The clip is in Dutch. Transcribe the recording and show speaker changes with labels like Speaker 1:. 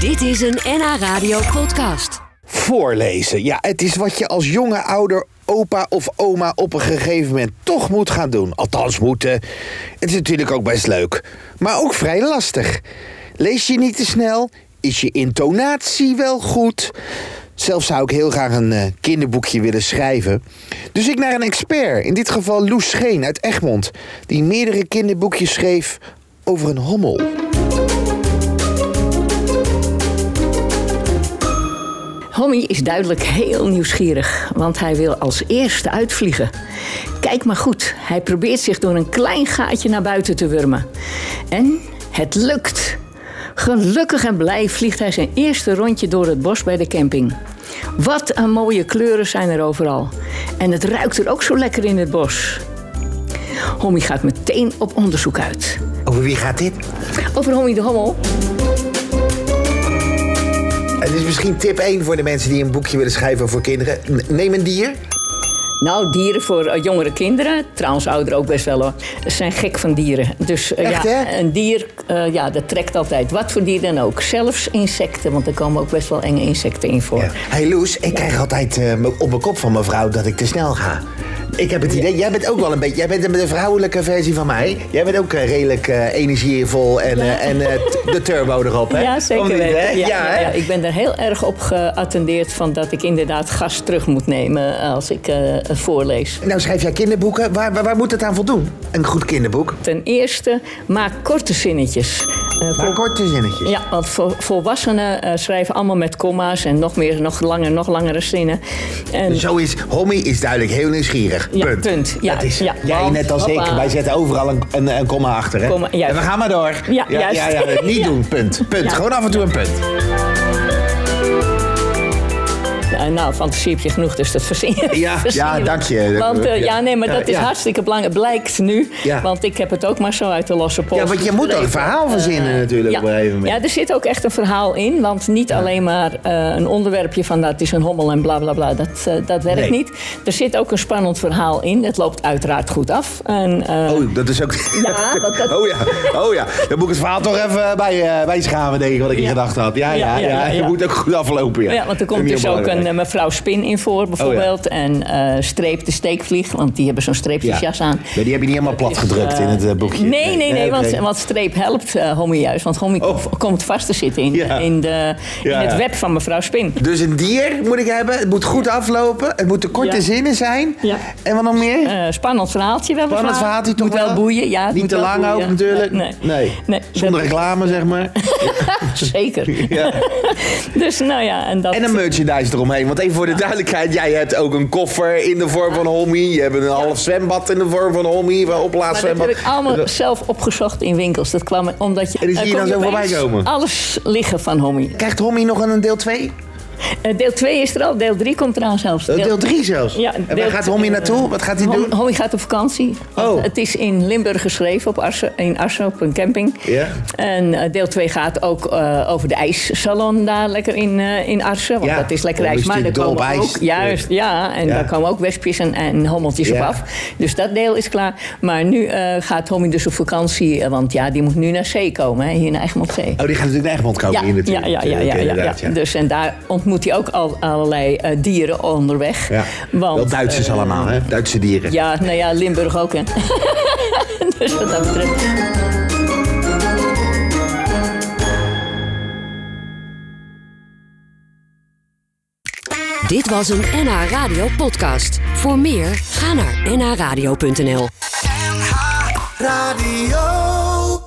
Speaker 1: Dit is een NH Radio podcast.
Speaker 2: Voorlezen. Ja, het is wat je als jonge ouder, opa of oma op een gegeven moment toch moet gaan doen. Althans moeten. Het is natuurlijk ook best leuk, maar ook vrij lastig. Lees je niet te snel? Is je intonatie wel goed? Zelf zou ik heel graag een eh, kinderboekje willen schrijven. Dus ik naar een expert, in dit geval Loes Scheen uit Egmond, die meerdere kinderboekjes schreef over een hommel.
Speaker 3: Hommy is duidelijk heel nieuwsgierig, want hij wil als eerste uitvliegen. Kijk maar goed, hij probeert zich door een klein gaatje naar buiten te wurmen. En het lukt. Gelukkig en blij vliegt hij zijn eerste rondje door het bos bij de camping. Wat een mooie kleuren zijn er overal. En het ruikt er ook zo lekker in het bos. Hommy gaat meteen op onderzoek uit.
Speaker 2: Over wie gaat dit?
Speaker 3: Over Hommy de Hommel.
Speaker 2: Het is misschien tip 1 voor de mensen die een boekje willen schrijven voor kinderen. N- Neem een dier.
Speaker 3: Nou, dieren voor eh, jongere kinderen, trouwens ouderen ook best wel hoor, zijn gek van dieren. Dus eh,
Speaker 2: Echt,
Speaker 3: ja,
Speaker 2: hè?
Speaker 3: een dier, eh, ja, dat trekt altijd. Wat voor dier dan ook. Zelfs insecten, want er komen ook best wel enge insecten in voor.
Speaker 2: Hey Loes, ik krijg altijd eh, m- op mijn kop van mijn vrouw dat ik te snel ga. Ik heb het idee, jij bent ook wel een beetje, jij bent een- de vrouwelijke versie van mij. Jij bent ook eh, redelijk eh, energievol en, eh, en eh, t- de turbo erop, hè?
Speaker 3: Ja, zeker
Speaker 2: Om niet, hè?
Speaker 3: weten. Ja, ja,
Speaker 2: hè?
Speaker 3: ja. Ik ben er heel erg op geattendeerd van dat ik inderdaad gas terug moet nemen als ik eh, voorlees.
Speaker 2: Nou schrijf jij kinderboeken, waar, waar, waar moet het aan voldoen? Een goed kinderboek.
Speaker 3: Ten eerste, maak korte zinnetjes. Eh,
Speaker 2: Maar korte zinnetjes.
Speaker 3: Ja, want vo- volwassenen eh, schrijven allemaal met comma's en nog meer, nog langer, nog langere zinnen. En
Speaker 2: Zo is, Hommy is duidelijk heel nieuwsgierig.
Speaker 3: Ja,
Speaker 2: punt.
Speaker 3: punt. Ja,
Speaker 2: dat is,
Speaker 3: ja.
Speaker 2: jij
Speaker 3: Want,
Speaker 2: net als ik,
Speaker 3: hoppa.
Speaker 2: wij zetten overal een, een, een komma achter. Hè?
Speaker 3: Komma, juist.
Speaker 2: en we gaan maar door.
Speaker 3: Ja, juist.
Speaker 2: Ja, ja, niet
Speaker 3: Ja.
Speaker 2: doen, punt. Punt.
Speaker 3: Ja.
Speaker 2: Gewoon af en toe een punt.
Speaker 3: Eh, nou, fantasie heb je genoeg, dus dat verzin je.
Speaker 2: Ja,
Speaker 3: verzin
Speaker 2: ja,
Speaker 3: je.
Speaker 2: dank je.
Speaker 3: Want, eh,
Speaker 2: Ja.
Speaker 3: ja, nee, maar dat
Speaker 2: Ja,
Speaker 3: is
Speaker 2: ja.
Speaker 3: hartstikke belangrijk. Blijkt nu,
Speaker 2: Ja.
Speaker 3: want ik heb het ook maar zo uit de losse pols.
Speaker 2: Ja, want je moet toch
Speaker 3: geleerd.
Speaker 2: een verhaal verzinnen natuurlijk
Speaker 3: Eh, Ja.
Speaker 2: op een gegeven moment.
Speaker 3: ja, er zit ook echt een verhaal in. Want niet alleen maar eh, een onderwerpje van dat is een hommel en bla bla bla. Dat, eh, dat werkt
Speaker 2: Nee.
Speaker 3: niet. Er zit ook een spannend verhaal in. Het loopt uiteraard goed af. En, eh,
Speaker 2: Oh, dat is ook...
Speaker 3: Ja, want dat-
Speaker 2: Oh ja, oh ja. Dan moet ik het verhaal toch even bij, eh bijschaven, denk ik, wat ik in
Speaker 3: Ja.
Speaker 2: gedachten had. Ja, ja,
Speaker 3: Ja,
Speaker 2: ja.
Speaker 3: ja, ja,
Speaker 2: Je
Speaker 3: ja.
Speaker 2: moet ook goed aflopen, ja.
Speaker 3: Ja, want er komt
Speaker 2: Niet
Speaker 3: dus ook
Speaker 2: onbelangrijk.
Speaker 3: een eh, mevrouw Spin in
Speaker 2: Oh,
Speaker 3: voor, bijvoorbeeld. En eh, Streep de Steekvlieg, want die hebben zo'n streepjesjas aan.
Speaker 2: Ja, die heb je niet helemaal plat gedrukt in het eh, boekje.
Speaker 3: Nee, nee, nee, want,
Speaker 2: oké.
Speaker 3: want streep helpt eh Hommy juist. Want Hommy
Speaker 2: Oh.
Speaker 3: komt vast te zitten in,
Speaker 2: Ja.
Speaker 3: in, de, in
Speaker 2: Ja, ja.
Speaker 3: het web van mevrouw Spin.
Speaker 2: Dus een dier moet ik hebben. Het moet goed aflopen. Het moeten korte
Speaker 3: Ja.
Speaker 2: zinnen zijn.
Speaker 3: Ja.
Speaker 2: En wat nog meer?
Speaker 3: Eh, spannend verhaaltje wel.
Speaker 2: Spannend verhaaltje
Speaker 3: Het
Speaker 2: toch
Speaker 3: moet wel
Speaker 2: wel?
Speaker 3: boeien, ja. het
Speaker 2: Niet
Speaker 3: moet
Speaker 2: te
Speaker 3: wel
Speaker 2: lang
Speaker 3: boeien.
Speaker 2: ook natuurlijk.
Speaker 3: Nee, nee. Nee,
Speaker 2: Zonder reclame, zeg maar.
Speaker 3: dat- zeker.
Speaker 2: Ja.
Speaker 3: Dus nou ja, en dat...
Speaker 2: En een merchandise eromheen. Want even voor de duidelijkheid, jij hebt ook een koffer in de vorm van homie. Je hebt een half zwembad in de vorm van homie. Een
Speaker 3: maar dat heb
Speaker 2: oplaadzwembad.
Speaker 3: ik allemaal zelf opgezocht in winkels. Dat kwam omdat je...
Speaker 2: En die zie je
Speaker 3: eh, kon
Speaker 2: dan zo voorbij
Speaker 3: opeens
Speaker 2: komen.
Speaker 3: Alles liggen van Hommy.
Speaker 2: Krijgt homie nog een deel 2?
Speaker 3: Eh, Deel 2 is er al, deel 3 komt eraan zelfs.
Speaker 2: Eh, Deel 3 zelfs?
Speaker 3: Ja,
Speaker 2: en waar
Speaker 3: deel-
Speaker 2: gaat homie naartoe? Wat gaat hij
Speaker 3: Hom-
Speaker 2: doen?
Speaker 3: Hommy gaat op vakantie.
Speaker 2: Oh.
Speaker 3: Het is in Limburg geschreven, op Assen, in Assen op een camping.
Speaker 2: Ja.
Speaker 3: En eh, deel 2 gaat ook eh, over de ijssalon daar lekker in, eh, in Arsen. Want
Speaker 2: Ja,
Speaker 3: dat is lekker
Speaker 2: om
Speaker 3: ijs.
Speaker 2: is
Speaker 3: Maar daar
Speaker 2: natuurlijk
Speaker 3: komen
Speaker 2: dol op
Speaker 3: ook,
Speaker 2: ijs.
Speaker 3: juist, ja, en
Speaker 2: Ja.
Speaker 3: daar komen ook wespjes en, en hommeltjes
Speaker 2: Ja.
Speaker 3: op af. Dus dat deel is klaar. Maar nu eh, gaat Hommy dus op vakantie. eh, Want ja, die moet nu naar zee komen, hè, hier naar Egmond Zee.
Speaker 2: Oh, die gaat natuurlijk naar Egmond komen hier natuurlijk.
Speaker 3: Ja, ja, ja,
Speaker 2: Oké,
Speaker 3: ja, ja,
Speaker 2: inderdaad,
Speaker 3: ja. Dus en daar ontmoet hij ook al allerlei eh, dieren onderweg.
Speaker 2: Ja.
Speaker 3: Want,
Speaker 2: Wel Duitsers
Speaker 3: eh,
Speaker 2: allemaal, hè? Duitse dieren.
Speaker 3: Ja, nou ja, Limburg ook, hè. dus wat dat betreft.
Speaker 1: Dit was een NH Radio podcast. Voor meer, ga naar nhradio.nl.
Speaker 4: NH Radio.